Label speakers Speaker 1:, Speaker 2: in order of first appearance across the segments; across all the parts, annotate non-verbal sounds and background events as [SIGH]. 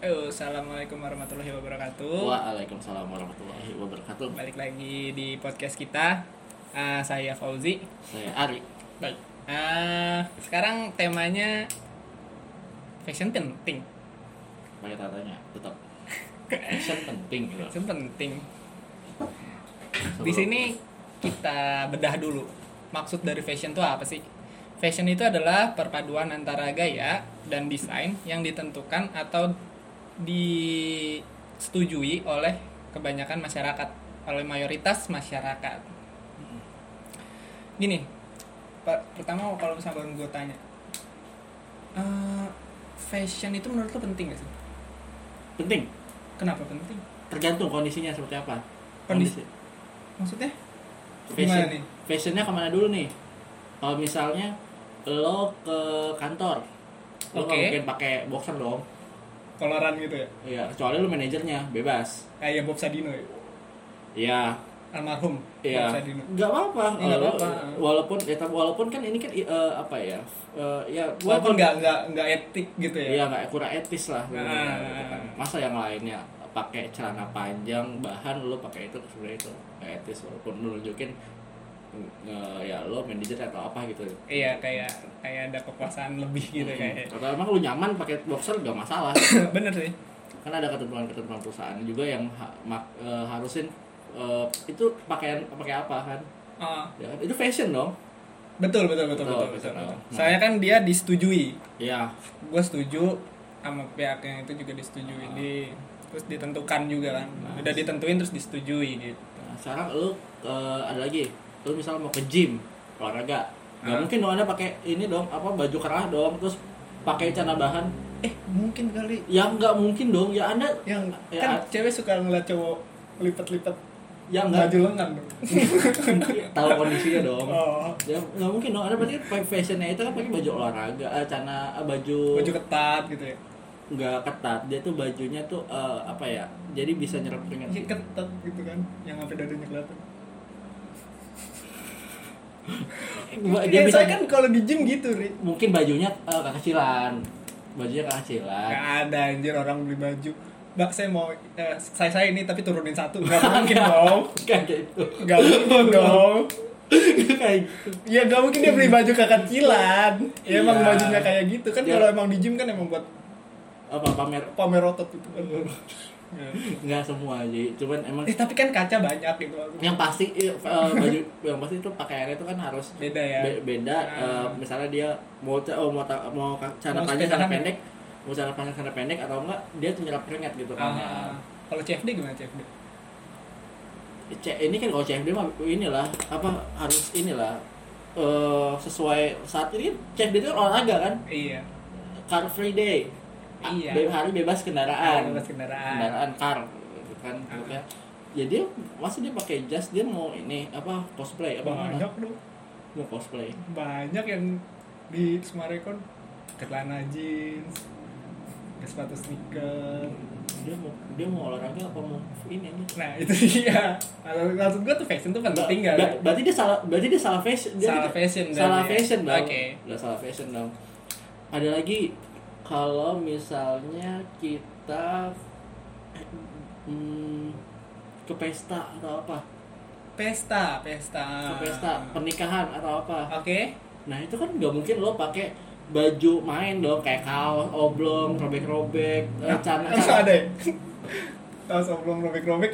Speaker 1: Eh, Assalamualaikum warahmatullahi wabarakatuh.
Speaker 2: Waalaikumsalam warahmatullahi wabarakatuh.
Speaker 1: Balik lagi di podcast kita. Ah, saya Fauzi.
Speaker 2: Saya Ari.
Speaker 1: Baik. Ah, sekarang temanya fashion penting.
Speaker 2: Pakai tatanya tetap. Action penting gitu.
Speaker 1: Fashion penting.
Speaker 2: Sebelum-
Speaker 1: Di sini kita bedah dulu. Maksud dari fashion itu apa sih? Fashion itu adalah perpaduan antara gaya dan desain yang ditentukan atau disetujui oleh kebanyakan masyarakat, oleh mayoritas masyarakat. Gini, per- pertama kalau misalnya baru gue tanya, eh, fashion itu menurut lo penting gak sih?
Speaker 2: penting.
Speaker 1: Kenapa penting?
Speaker 2: Tergantung kondisinya seperti apa.
Speaker 1: Kondisi. Maksudnya?
Speaker 2: Fashion.
Speaker 1: Gimana nih?
Speaker 2: Fashionnya kemana dulu nih? Kalau misalnya lo ke kantor, lo nggak
Speaker 1: Oke.
Speaker 2: mungkin pakai boxer dong.
Speaker 1: Koloran gitu ya?
Speaker 2: Iya, kecuali lo manajernya bebas.
Speaker 1: Kayak Bob Sadino ya?
Speaker 2: Iya,
Speaker 1: almarhum
Speaker 2: Iya.
Speaker 1: Bob Sadino.
Speaker 2: Nggak apa-apa.
Speaker 1: Iya, nggak
Speaker 2: Walau-
Speaker 1: apa-apa.
Speaker 2: Walaupun ya, tapi walaupun kan ini kan eh, apa ya? Eh, ya
Speaker 1: Walaupun nggak nggak nggak etik gitu ya.
Speaker 2: Iya nggak kurang etis lah sebenarnya,
Speaker 1: Ah.
Speaker 2: gitu kan. Masa yang lainnya pakai celana panjang bahan lu pakai itu sebenarnya itu nggak etis walaupun lu nunjukin eh, ya lo manajer atau apa gitu.
Speaker 1: Iya kayak kayak ada kekuasaan lebih gitu kayak. [CLEARS THROAT]
Speaker 2: Kalau emang lu nyaman pakai boxer gak masalah.
Speaker 1: Bener sih.
Speaker 2: kan ada ketentuan-ketentuan perusahaan juga yang ha- mak- eh, harusin eh, itu pakaian pakai apa kan?
Speaker 1: Oh,
Speaker 2: Ya kan? itu fashion dong.
Speaker 1: betul betul betul betul betul.
Speaker 2: Betul, betul.
Speaker 1: betul.
Speaker 2: Nah.
Speaker 1: Soalnya kan dia disetujui.
Speaker 2: Ya
Speaker 1: Gue setuju sama pihaknya itu juga disetujui
Speaker 2: Ah.
Speaker 1: di terus ditentukan juga kan.
Speaker 2: Nah.
Speaker 1: Udah ditentuin terus disetujui gitu.
Speaker 2: Nah, sekarang lu eh, ada lagi, lu misalnya mau ke gym olahraga, nggak
Speaker 1: Ah.
Speaker 2: mungkin dong anda pakai ini dong apa baju kerah dong, terus pakai celana bahan,
Speaker 1: Eh mungkin kali
Speaker 2: yang nggak mungkin dong, ya anda
Speaker 1: yang
Speaker 2: Ya.
Speaker 1: kan cewek suka ngeliat cowok lipat-lipat
Speaker 2: ya nggak
Speaker 1: baju
Speaker 2: Iya,
Speaker 1: lengan.
Speaker 2: tahu kondisinya dong.
Speaker 1: Oh,
Speaker 2: Ya nggak mungkin dong, anda pasti kan pakai fashionnya itu kan pakai baju olahraga, eh, celana eh, baju
Speaker 1: [LAUGHS] baju ketat gitu ya.
Speaker 2: nggak ketat, dia tuh bajunya tuh eh, apa ya, jadi bisa nyerap keringat.
Speaker 1: Iya ketat gitu kan, yang sampai dadanya kelihatan.
Speaker 2: Dia
Speaker 1: Iya,
Speaker 2: bisa-
Speaker 1: saya kan kalau di gym gitu, Ri.
Speaker 2: Mungkin bajunya eh, kekecilan, bajunya kekecilan.
Speaker 1: Gak ada anjir orang beli baju. Mbak, saya mau eh, saya saya ini tapi turunin satu.
Speaker 2: [LAUGHS]
Speaker 1: Gak mungkin dong.
Speaker 2: Kayak gitu. [LAUGHS]
Speaker 1: Gak mungkin dong.
Speaker 2: Kayak gitu.
Speaker 1: Ya gak mungkin dia beli baju kekecilan. Ya emang
Speaker 2: Iya.
Speaker 1: bajunya kayak gitu kan
Speaker 2: Iya.
Speaker 1: kalau emang di gym kan emang buat
Speaker 2: apa pamer
Speaker 1: pamer otot gitu kan. Ya.
Speaker 2: nggak semua jadi cuman emang
Speaker 1: [LAUGHS] Eh tapi kan kaca banyak gitu.
Speaker 2: yang pasti eh, eh, baju yang pasti itu pakaiannya itu kan harus
Speaker 1: Beda ya.
Speaker 2: be- beda eh, misalnya dia mau ce- oh, mau ta- mau ka- celana
Speaker 1: Mau kan?
Speaker 2: panjang celana
Speaker 1: sepedaan.
Speaker 2: pendek mau celana panjang celana pendek atau enggak dia tuh nyerap keringat gitu kan
Speaker 1: Ah, kalau CFD gimana CFD?
Speaker 2: C- ini kan kalau CFD mah inilah apa harus inilah eh, sesuai saat ini kan CFD itu kan olahraga kan
Speaker 1: Iya.
Speaker 2: car free day Ah,
Speaker 1: Iya.
Speaker 2: be- hari bebas kendaraan
Speaker 1: Bebas kendaraan.
Speaker 2: Ah. kendaraan car gitu kan
Speaker 1: Iya.
Speaker 2: maksudnya ya dia masih dia pakai jas dia mau ini apa cosplay apa mana
Speaker 1: Banyak dong.
Speaker 2: mau cosplay
Speaker 1: banyak yang di Sumarekon celana jeans ke sepatu sneaker
Speaker 2: dia mau dia mau olahraga apa mau ini aja
Speaker 1: nah itu [LAUGHS] dia Maksud- maksud gue tuh fashion tuh penting gak
Speaker 2: Ba- berarti dia salah berarti dia salah fashion dia
Speaker 1: Kan Salah fashion berarti
Speaker 2: salah
Speaker 1: ya.
Speaker 2: fashion dong
Speaker 1: Oke.
Speaker 2: udah salah fashion dong ada lagi kalau misalnya kita eh, hmm, ke pesta atau apa
Speaker 1: pesta pesta
Speaker 2: ke pesta pernikahan atau apa
Speaker 1: oke
Speaker 2: Nah itu kan nggak mungkin lo pakai baju main dong kayak kaos oblong robek-robek eh, celana
Speaker 1: Emang ada [LAUGHS] ya? tahu sebelum robek robek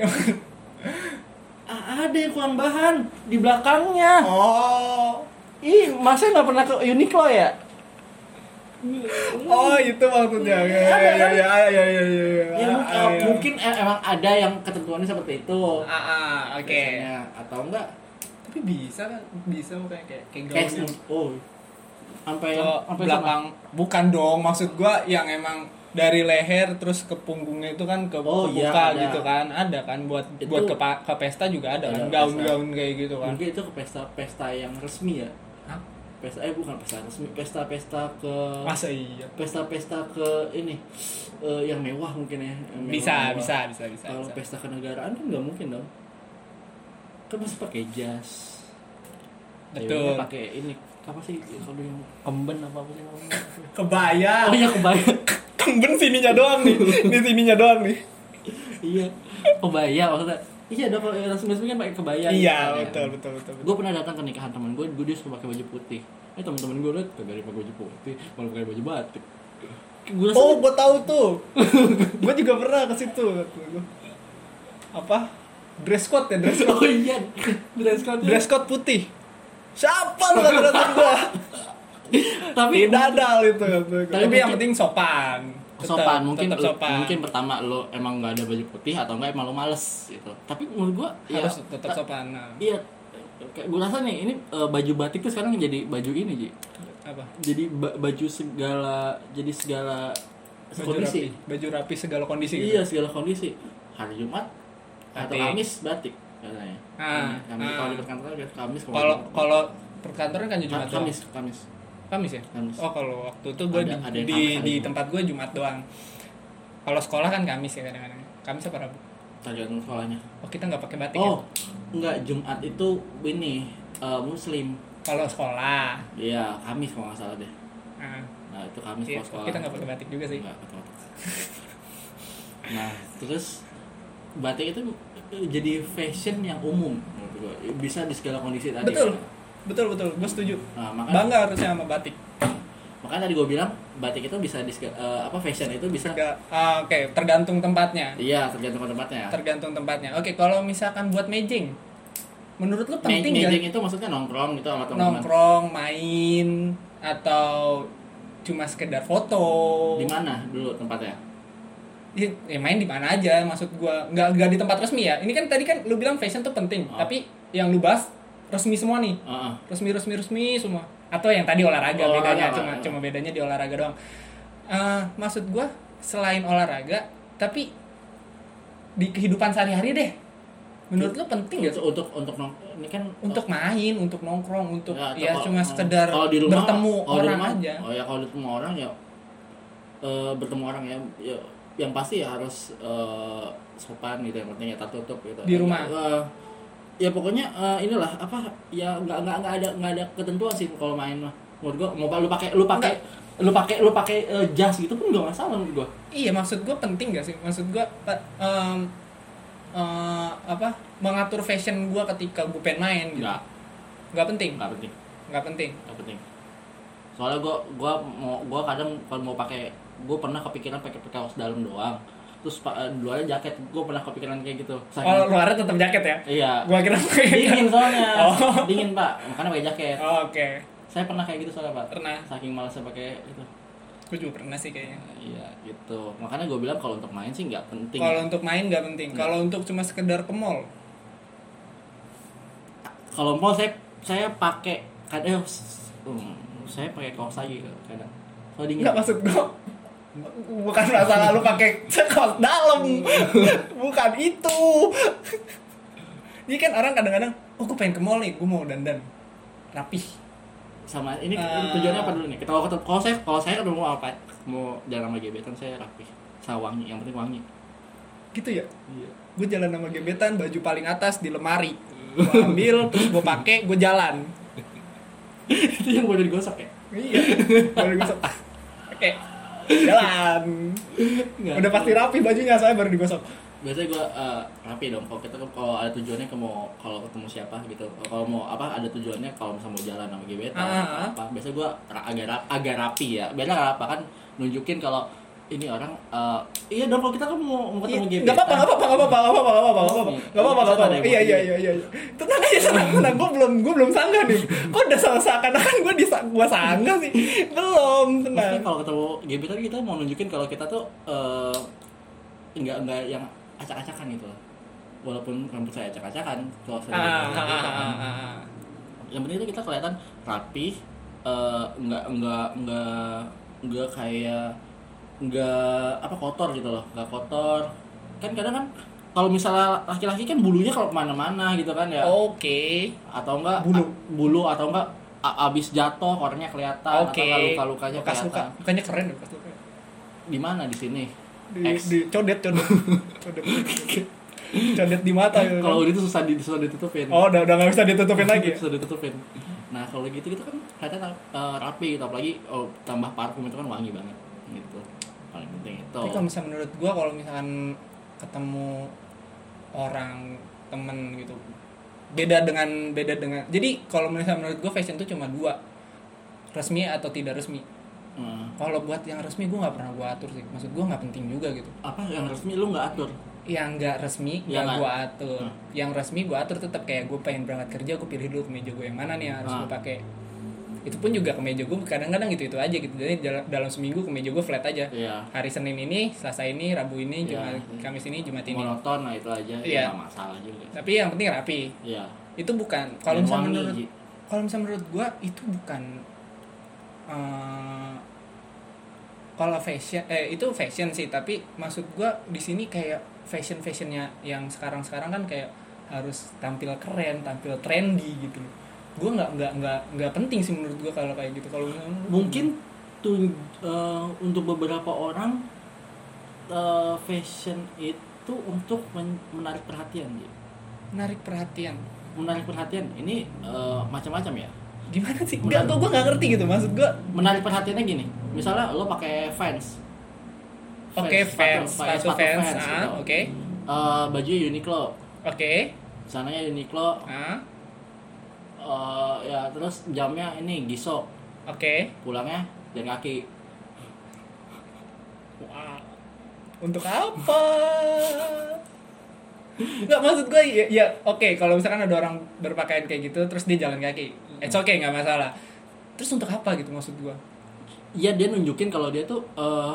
Speaker 2: Ah, ada yang kurang bahan di belakangnya
Speaker 1: [LAUGHS] oh
Speaker 2: ih masa nggak pernah ke Uniqlo ya
Speaker 1: oh itu maksudnya ya ya
Speaker 2: Ada
Speaker 1: ya
Speaker 2: kan?
Speaker 1: ya ya ya ya
Speaker 2: Ya, mungkin,
Speaker 1: Ah, ya.
Speaker 2: mungkin eh, emang ada yang ketentuannya seperti itu
Speaker 1: ah ah, oke
Speaker 2: biasanya. atau enggak
Speaker 1: tapi bisa kan bisa kayak kayak kayak
Speaker 2: kayak
Speaker 1: gaun
Speaker 2: sem- oh sampai
Speaker 1: Kalau
Speaker 2: sampai
Speaker 1: Oh, belakang gitu bukan dong maksud gua yang emang dari leher terus ke punggungnya itu kan ke
Speaker 2: Oh,
Speaker 1: ke
Speaker 2: iya,
Speaker 1: muka
Speaker 2: ada.
Speaker 1: gitu kan ada kan buat
Speaker 2: Itu-
Speaker 1: buat ke, pa- ke pesta juga ada
Speaker 2: Ada
Speaker 1: kan
Speaker 2: pesta.
Speaker 1: gaun-gaun kayak gitu
Speaker 2: sama.
Speaker 1: kan
Speaker 2: mungkin itu ke pesta-pesta yang resmi ya
Speaker 1: Hah?
Speaker 2: pesta eh bukan pesta resmi pesta-pesta ke
Speaker 1: masa iya
Speaker 2: pesta-pesta ke ini eh, yang mewah mungkin ya yang mewah,
Speaker 1: bisa
Speaker 2: mewah.
Speaker 1: bisa bisa bisa,
Speaker 2: kalau
Speaker 1: bisa.
Speaker 2: pesta kenegaraan kan nggak mungkin dong kan masih pakai jas
Speaker 1: betul
Speaker 2: Ya Ceweknya pakai ini apa sih ya kalau yang kemben apa apa sih
Speaker 1: [LAUGHS]
Speaker 2: namanya?
Speaker 1: Kebaya.
Speaker 2: Oh
Speaker 1: [LAUGHS]
Speaker 2: iya kebaya.
Speaker 1: Kemben Kan sininya doang nih. Di sininya doang nih.
Speaker 2: iya. Kebaya maksudnya. Iya dong kalau orang sembilan kan pakai kebaya.
Speaker 1: Iya,
Speaker 2: gitu kan, ya kan?
Speaker 1: betul, betul, betul. betul.
Speaker 2: gue pernah datang ke nikahan teman gue gue dia suka pakai baju putih eh teman-teman gue liat kagak ada yang pakai baju putih malah pakai baju batik gue rasa
Speaker 1: Oh, gue tahu tuh. [LAUGHS] gue juga pernah ke
Speaker 2: [LAUGHS]
Speaker 1: situ. Apa? Dress code ya, dress code.
Speaker 2: [LAUGHS] oh iya dress code
Speaker 1: Dress code putih. Siapa lu kata datang gua?
Speaker 2: [LAUGHS] tapi
Speaker 1: Tidak ada itu. Tapi
Speaker 2: mungkin- Oh,
Speaker 1: yang penting sopan. Tetep-
Speaker 2: sopan mungkin
Speaker 1: tetep sopan.
Speaker 2: mungkin pertama lo emang gak ada baju putih atau enggak emang lo males gitu tapi menurut gue
Speaker 1: harus tetap sopan. Nah,
Speaker 2: iya kayak gue rasa nih ini eh, baju batik tuh sekarang jadi baju ini Ji.
Speaker 1: Apa?
Speaker 2: jadi ba- baju segala jadi segala
Speaker 1: Baju rapi,
Speaker 2: kondisi
Speaker 1: baju rapi segala kondisi. gitu.
Speaker 2: Iya segala kondisi. Hari Jumat atau
Speaker 1: Batik.
Speaker 2: Kamis batik katanya.
Speaker 1: Ah,
Speaker 2: Kami
Speaker 1: ah.
Speaker 2: kalau di perkantoran biar Kamis kalau
Speaker 1: Kalau kalau perkantoran kan
Speaker 2: Ka-
Speaker 1: Jumat doang.
Speaker 2: Ah, Kamis Kamis.
Speaker 1: Kamis ya?
Speaker 2: Kamis.
Speaker 1: Oh kalau waktu itu gue di,
Speaker 2: Ada- ada yang
Speaker 1: di,
Speaker 2: Kamis, ada
Speaker 1: di
Speaker 2: yang Jumat.
Speaker 1: tempat gue Jumat doang. Kalau sekolah kan Kamis ya kadang-kadang. Kamis apa Rabu?
Speaker 2: Tergantung sekolahnya.
Speaker 1: Oh kita nggak pakai batik ya?
Speaker 2: Oh enggak Jumat itu ini eh, Muslim.
Speaker 1: Kalau sekolah,
Speaker 2: Iya Kamis kalau nggak salah deh.
Speaker 1: nah,
Speaker 2: Nah itu Kamis
Speaker 1: iya,
Speaker 2: kalau sekolah. Iya.
Speaker 1: kita nggak pakai batik juga sih.
Speaker 2: Nggak, betul. nah terus batik itu eh, jadi fashion yang umum menurut gua. bisa di segala kondisi tadi
Speaker 1: Betul, betul betul. Gue setuju.
Speaker 2: nah makanya
Speaker 1: Bangga harusnya sama batik.
Speaker 2: makanya tadi gue bilang batik itu bisa di seg- eh, apa fashion itu bisa
Speaker 1: Nggak- ah, Oke, tergantung tempatnya.
Speaker 2: iya tergantung tempatnya
Speaker 1: Tergantung tempatnya. Oke, kalau misalkan buat mejeng, menurut lu
Speaker 2: Me-
Speaker 1: penting nggak?
Speaker 2: mejeng itu maksudnya nongkrong gitu sama teman-teman
Speaker 1: nongkrong, main, atau cuma sekedar foto?
Speaker 2: di mana dulu tempatnya
Speaker 1: Ya, ya main di mana aja maksud gua nggak nggak di tempat resmi ya ini kan tadi kan lu bilang fashion tuh penting
Speaker 2: Oh.
Speaker 1: tapi yang lu bahas resmi semua nih
Speaker 2: Heeh.
Speaker 1: resmi resmi resmi semua atau yang tadi olahraga
Speaker 2: Olahraga,
Speaker 1: bedanya cuma
Speaker 2: olahraga.
Speaker 1: cuma bedanya di olahraga doang Eh, maksud gua selain olahraga tapi di kehidupan sehari-hari deh menurut lu penting gak
Speaker 2: Untuk- untuk untuk nong- ini kan
Speaker 1: untuk main untuk nongkrong untuk
Speaker 2: Ya, atau
Speaker 1: ya
Speaker 2: kalau-
Speaker 1: cuma sekedar
Speaker 2: kalau di rumah,
Speaker 1: bertemu
Speaker 2: kalau di
Speaker 1: orang
Speaker 2: rumah,
Speaker 1: aja
Speaker 2: oh ya kalau bertemu orang ya eh, bertemu orang ya, ya, yang pasti ya harus eh, sopan gitu yang penting ya tertutup gitu
Speaker 1: Di rumah?
Speaker 2: Eh, ya pokoknya eh, inilah apa ya nggak nggak nggak ada nggak ada ketentuan sih kalau main mah menurut gua mau pa- lu pakai lu pakai lu pakai lu pakai eh, jas gitu pun nggak masalah menurut gua
Speaker 1: Iya maksud gue penting gak sih? Maksud gue eh, apa mengatur fashion gue ketika gue pengen main gitu.
Speaker 2: nggak
Speaker 1: Nggak penting,
Speaker 2: nggak penting
Speaker 1: nggak penting.
Speaker 2: nggak penting soalnya gua gua mau gua kadang kalau mau pakai gua pernah kepikiran pakai pakai kaos dalam doang terus pa- eh, luarnya jaket gua pernah kepikiran kayak gitu
Speaker 1: Oh
Speaker 2: Saking-
Speaker 1: luarnya tetap jaket ya? [LAUGHS]
Speaker 2: iya
Speaker 1: Gue kira pakai.
Speaker 2: dingin soalnya
Speaker 1: Oh.
Speaker 2: dingin pak makanya pakai jaket
Speaker 1: Oh, Oke,
Speaker 2: saya pernah kayak gitu soalnya pak
Speaker 1: pernah.
Speaker 2: saking malasnya pakai itu
Speaker 1: Gue juga pernah sih kayaknya.
Speaker 2: iya gitu makanya gua bilang kalau untuk main sih nggak penting
Speaker 1: Kalau untuk main nggak penting. Kalau untuk cuma sekedar ke mall,
Speaker 2: kalau mall saya saya pakai kadang eh, hmm, saya pakai kaos lagi kadang soalnya dingin
Speaker 1: nggak maksud gue bukan masalah lu pakai sekos dalam bukan itu ini kan orang kadang-kadang oh gue pengen ke mall nih gue mau dandan rapih
Speaker 2: sama ini
Speaker 1: Ah.
Speaker 2: tujuannya apa dulu nih? Kalau ketemu kalau saya kalau saya ketemu apa? Mau jalan sama gebetan saya rapi, saya wangi, yang penting wangi.
Speaker 1: gitu ya
Speaker 2: Iya.
Speaker 1: gue jalan sama gebetan baju paling atas di lemari gue ambil terus gue pakai gue jalan
Speaker 2: [LAUGHS] Itu yang boleh digosok ya?
Speaker 1: iya baru digosok oke jalan
Speaker 2: Iya.
Speaker 1: udah pasti rapi bajunya saya baru digosok
Speaker 2: Biasanya gue rapi dong. Kalau kita kalau ada tujuannya ke mau kalau ketemu siapa gitu, kalau mau apa ada tujuannya kalau misalnya mau jalan sama gebetan
Speaker 1: Ah.
Speaker 2: atau apa? Biasanya gue agak rap- agak rapi ya. Biasanya apa kan nunjukin kalau ini orang eh, iya dong kalau kita kan mau, mau ketemu gebetan.
Speaker 1: Iya, nggak apa-apa nggak apa-apa nggak apa-apa nggak apa-apa nggak apa-apa nggak apa-apa nggak apa-apa iya iya iya iya iya. tenang aja
Speaker 2: [LAUGHS]
Speaker 1: tenang tenang gue belum gue belum sanggah nih kok udah salah seakan-akan gue disa gue sanggah sih belum
Speaker 2: Maksudnya
Speaker 1: tenang
Speaker 2: kalau ketemu gebetan kita mau nunjukin kalau kita tuh eh, nggak nggak yang acak-acakan gitu loh. Walaupun rambut saya acak-acakan, kalau saya
Speaker 1: Ah, ah,
Speaker 2: rambut
Speaker 1: ah, ah,
Speaker 2: acak-acakan. gitu kan.
Speaker 1: ah, ah.
Speaker 2: Yang penting itu kita kelihatan rapi, eh, nggak nggak nggak nggak kayak nggak apa kotor gitu loh, nggak kotor. Kan kadang kan kalau misalnya laki-laki kan bulunya kalau kemana-mana gitu kan ya,
Speaker 1: oke
Speaker 2: atau
Speaker 1: Oh.
Speaker 2: enggak ah,
Speaker 1: Bulu.
Speaker 2: bulu atau enggak a- abis jatuh orangnya kelihatan
Speaker 1: oke
Speaker 2: atau enggak luka-lukanya
Speaker 1: lukas luka
Speaker 2: kelihatan
Speaker 1: lukanya keren ya, lukas luka
Speaker 2: di mana di sini
Speaker 1: di,
Speaker 2: X.
Speaker 1: di codet
Speaker 2: [LAUGHS]
Speaker 1: codet codet codet di mata gitu kan.
Speaker 2: Iya, kalau itu susah di susah ditutupin [LAUGHS]
Speaker 1: oh udah udah nggak bisa iya. Oh, ditutupin lagi ya?
Speaker 2: susah ditutupin nah kalau gitu gitu kan kelihatannya eh, rapi gitu apalagi oh, tambah parfum itu kan wangi banget gitu paling penting itu
Speaker 1: Tapi kalau misalnya menurut gua kalau misalkan ketemu orang temen gitu beda dengan beda dengan jadi kalau misalnya menurut gua fashion tuh cuma dua resmi atau tidak resmi
Speaker 2: Hmm.
Speaker 1: kalau buat yang resmi gua nggak pernah gua atur sih maksud gua nggak penting juga gitu
Speaker 2: apa yang resmi lu nggak atur
Speaker 1: yang nggak resmi nggak
Speaker 2: Iya kan?
Speaker 1: gua atur
Speaker 2: Hmm.
Speaker 1: yang resmi gua atur tetap kayak gua pengen berangkat kerja gua pilih dulu kemeja gua yang mana nih yang harus
Speaker 2: Ah.
Speaker 1: gua pakai itu pun juga kemeja gua kadang-kadang gitu itu aja gitu jadi dalam- dalam seminggu kemeja gua flat aja
Speaker 2: ya
Speaker 1: hari Senin ini, Selasa ini, Rabu ini,
Speaker 2: Iya.
Speaker 1: Jumat, Kamis ini, Jumat ini.
Speaker 2: monoton lah itu aja
Speaker 1: Iya.
Speaker 2: ya nggak masalah juga
Speaker 1: Tapi yang penting rapi.
Speaker 2: ya
Speaker 1: Itu bukan kalau misalnya menurut kalau misalnya menurut gua itu bukan eh, kalau fashion eh itu fashion sih, tapi maksud gua di sini kayak fashion-fashionnya yang sekarang-sekarang kan kayak harus tampil keren, tampil trendy gitu. Gua nggak nggak nggak nggak penting sih menurut gua kalau kayak gitu. Kalau menurut-
Speaker 2: mungkin tuh eh, untuk beberapa orang eh, fashion itu untuk men- menarik perhatian Ji.
Speaker 1: menarik perhatian.
Speaker 2: menarik perhatian ini eh, macam-macam ya
Speaker 1: Gimana sih? Enggak tuh gua nggak ngerti gitu maksud gua.
Speaker 2: menarik perhatiannya gini misalnya lo pakai fans
Speaker 1: Oke, fans,
Speaker 2: pakai
Speaker 1: sepatu fans,
Speaker 2: Vans
Speaker 1: ah,
Speaker 2: gitu.
Speaker 1: oke.
Speaker 2: Eh, baju Uniqlo
Speaker 1: Oke.
Speaker 2: sananya Uniqlo
Speaker 1: Ah,
Speaker 2: eh, ya terus jamnya ini Gisok
Speaker 1: oke.
Speaker 2: pulangnya jalan kaki
Speaker 1: Wah. Untuk apa? Nggak maksud gue ya, ya, oke kalau misalkan ada orang berpakaian kayak gitu terus dia jalan kaki, it's okay nggak masalah. Terus untuk apa gitu maksud gue?
Speaker 2: Iya dia nunjukin kalau dia tuh eh,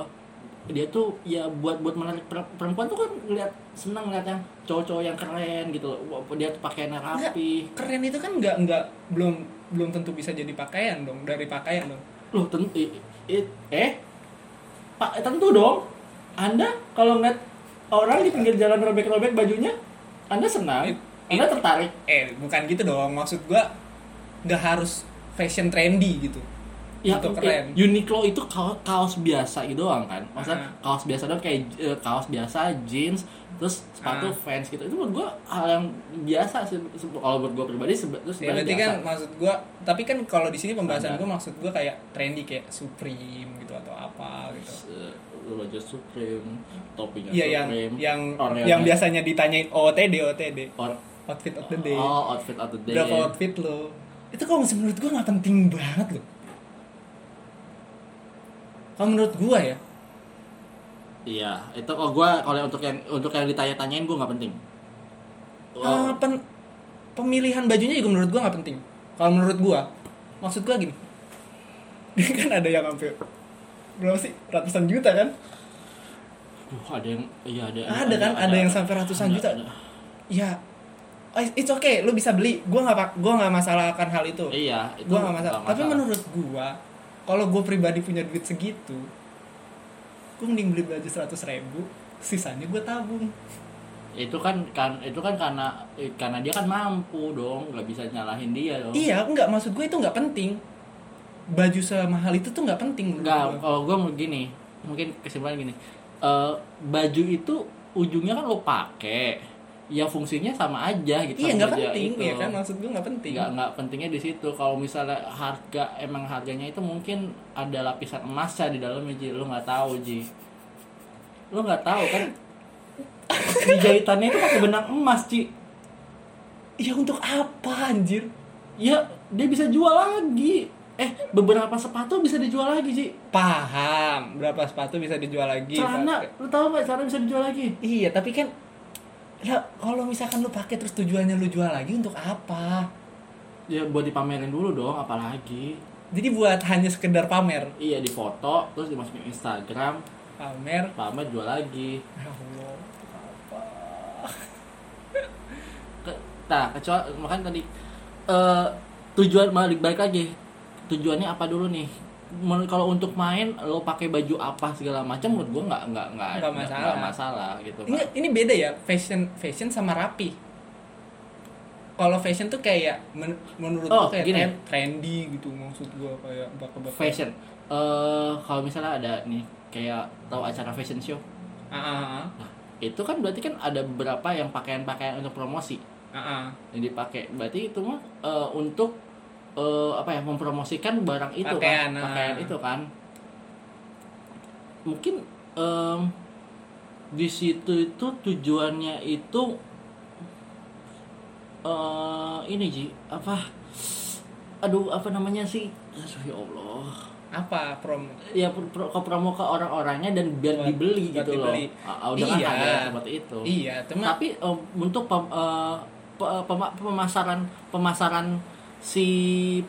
Speaker 2: dia tuh ya buat buat menarik per- perempuan tuh kan ngeliat senang ngeliat yang cowok-cowok yang keren gitu loh. Wah, Dia tuh pakaiannya rapi.
Speaker 1: Keren itu kan nggak nggak belum belum tentu bisa jadi pakaian dong dari pakaian dong.
Speaker 2: Loh tentu eh Pak eh, tentu dong. Anda kalau ngeliat orang di pinggir jalan robek-robek bajunya, Anda senang,
Speaker 1: It-
Speaker 2: Anda tertarik.
Speaker 1: Eh bukan gitu dong maksud gue nggak harus fashion trendy gitu.
Speaker 2: Ya,
Speaker 1: Itu
Speaker 2: eh,
Speaker 1: keren.
Speaker 2: Uniqlo itu kaos, kaos biasa gitu doang kan. Maksudnya
Speaker 1: Ah.
Speaker 2: kaos biasa doang kayak eh, kaos biasa, jeans, terus sepatu
Speaker 1: Ah.
Speaker 2: fans gitu. Itu menurut gua hal yang biasa sih Se- kalau buat gua pribadi sebe- itu
Speaker 1: Ya,
Speaker 2: sebenarnya
Speaker 1: berarti
Speaker 2: Iya, biasa.
Speaker 1: kan maksud gua, tapi kan kalau di sini pembahasan
Speaker 2: Standar.
Speaker 1: gua maksud gua kayak trendy kayak Supreme gitu atau apa gitu.
Speaker 2: Se- Baju eh, Supreme, topinya
Speaker 1: Iya yang
Speaker 2: Ya, Supreme,
Speaker 1: yang
Speaker 2: oreonya-
Speaker 1: yang biasanya ditanyain "Oh, OOTD OOTD
Speaker 2: or-
Speaker 1: outfit of the day.
Speaker 2: Oh, outfit of the day.
Speaker 1: Berapa outfit lo? Itu kalau menurut gua nggak penting banget loh. Kalau menurut gua ya,
Speaker 2: Iya, itu kalau gua kalau untuk yang untuk yang ditanya-tanyain gua nggak penting.
Speaker 1: eh,
Speaker 2: Oh,
Speaker 1: pen- pemilihan bajunya juga menurut gua nggak penting. Kalau menurut gua, maksud gua gini. [LAUGHS] kan ada yang hampir berapa sih? Ratusan juta kan?
Speaker 2: duh, ada yang iya ada.
Speaker 1: Ada kan? Ada yang sampai ratusan juta. ya oh, it's okay lu bisa beli gua nggak pak- gua nggak masalahkan hal itu
Speaker 2: Iya, itu
Speaker 1: gua nggak masalah. tapi menurut gua kalau gua pribadi punya duit segitu gua mending beli baju seratus ribu sisanya gua tabung
Speaker 2: itu kan kan itu kan karena eh, karena dia kan mampu dong nggak bisa nyalahin dia dong
Speaker 1: iya nggak maksud gua itu nggak penting baju semahal itu tuh nggak penting menurut
Speaker 2: nggak
Speaker 1: gua.
Speaker 2: kalau gue mau gini mungkin kesimpulan gini Eh, baju itu ujungnya kan lo pakai ya fungsinya sama aja gitu
Speaker 1: iya
Speaker 2: sama
Speaker 1: nggak
Speaker 2: baju
Speaker 1: penting
Speaker 2: itu.
Speaker 1: ya kan maksud gua nggak penting
Speaker 2: nggak nggak pentingnya di situ kalau misalnya harga emang harganya itu mungkin ada lapisan emasnya di dalamnya ji lo nggak tahu ji lo nggak tahu [LAUGHS] kan di jahitannya itu pakai benang emas ji
Speaker 1: iya untuk apa anjir
Speaker 2: ya dia bisa jual lagi eh beberapa sepatu bisa dijual lagi sih
Speaker 1: paham berapa sepatu bisa dijual lagi
Speaker 2: celana
Speaker 1: pakai.
Speaker 2: lu tahu nggak celana bisa dijual lagi
Speaker 1: Iya, tapi kan lah, kalau misalkan lu pakai terus tujuannya lu jual lagi untuk apa?
Speaker 2: ya buat dipamerin dulu dong apalagi
Speaker 1: Jadi buat hanya sekedar pamer.
Speaker 2: iya difoto terus dimasukin Instagram
Speaker 1: Pamer.
Speaker 2: pamer jual lagi
Speaker 1: Ya Allah.
Speaker 2: Ke, nah kecuali makanya tadi eh, tujuan balik balik lagi tujuannya apa dulu nih Menurut- kalau untuk main lo pakai baju apa segala macam menurut gua nggak nggak nggak
Speaker 1: Nggak masalah.
Speaker 2: nggak masalah gitu
Speaker 1: Ini ini beda ya, fashion fashion sama rapi. Kalau fashion tuh kayak men- menurut
Speaker 2: Oh,
Speaker 1: gua kayak
Speaker 2: gini.
Speaker 1: tren- trendy gitu maksud gua kayak bakal
Speaker 2: fashion eh kalau misalnya ada nih kayak tahu acara fashion show
Speaker 1: Ah, ah,
Speaker 2: itu kan berarti kan ada beberapa yang pakaian-pakaian untuk promosi
Speaker 1: ah, ah.
Speaker 2: yang dipakai berarti itu mah eh, untuk eh, apa ya mempromosikan barang itu
Speaker 1: Pakaian,
Speaker 2: kan
Speaker 1: nah.
Speaker 2: pakaian itu kan mungkin em, di situ itu tujuannya itu eh ini ji apa aduh apa namanya sih aduh ya allah
Speaker 1: apa prom
Speaker 2: ya pro, pro, ke promo ke orang-orangnya dan biar
Speaker 1: Buat-
Speaker 2: dibeli
Speaker 1: buat
Speaker 2: gitu
Speaker 1: dibeli.
Speaker 2: loh Ah, ah, udah
Speaker 1: Iya.
Speaker 2: kan ada seperti itu
Speaker 1: iya cuma
Speaker 2: tapi em, untuk pem- eh, pe- pema- pemasaran pemasaran si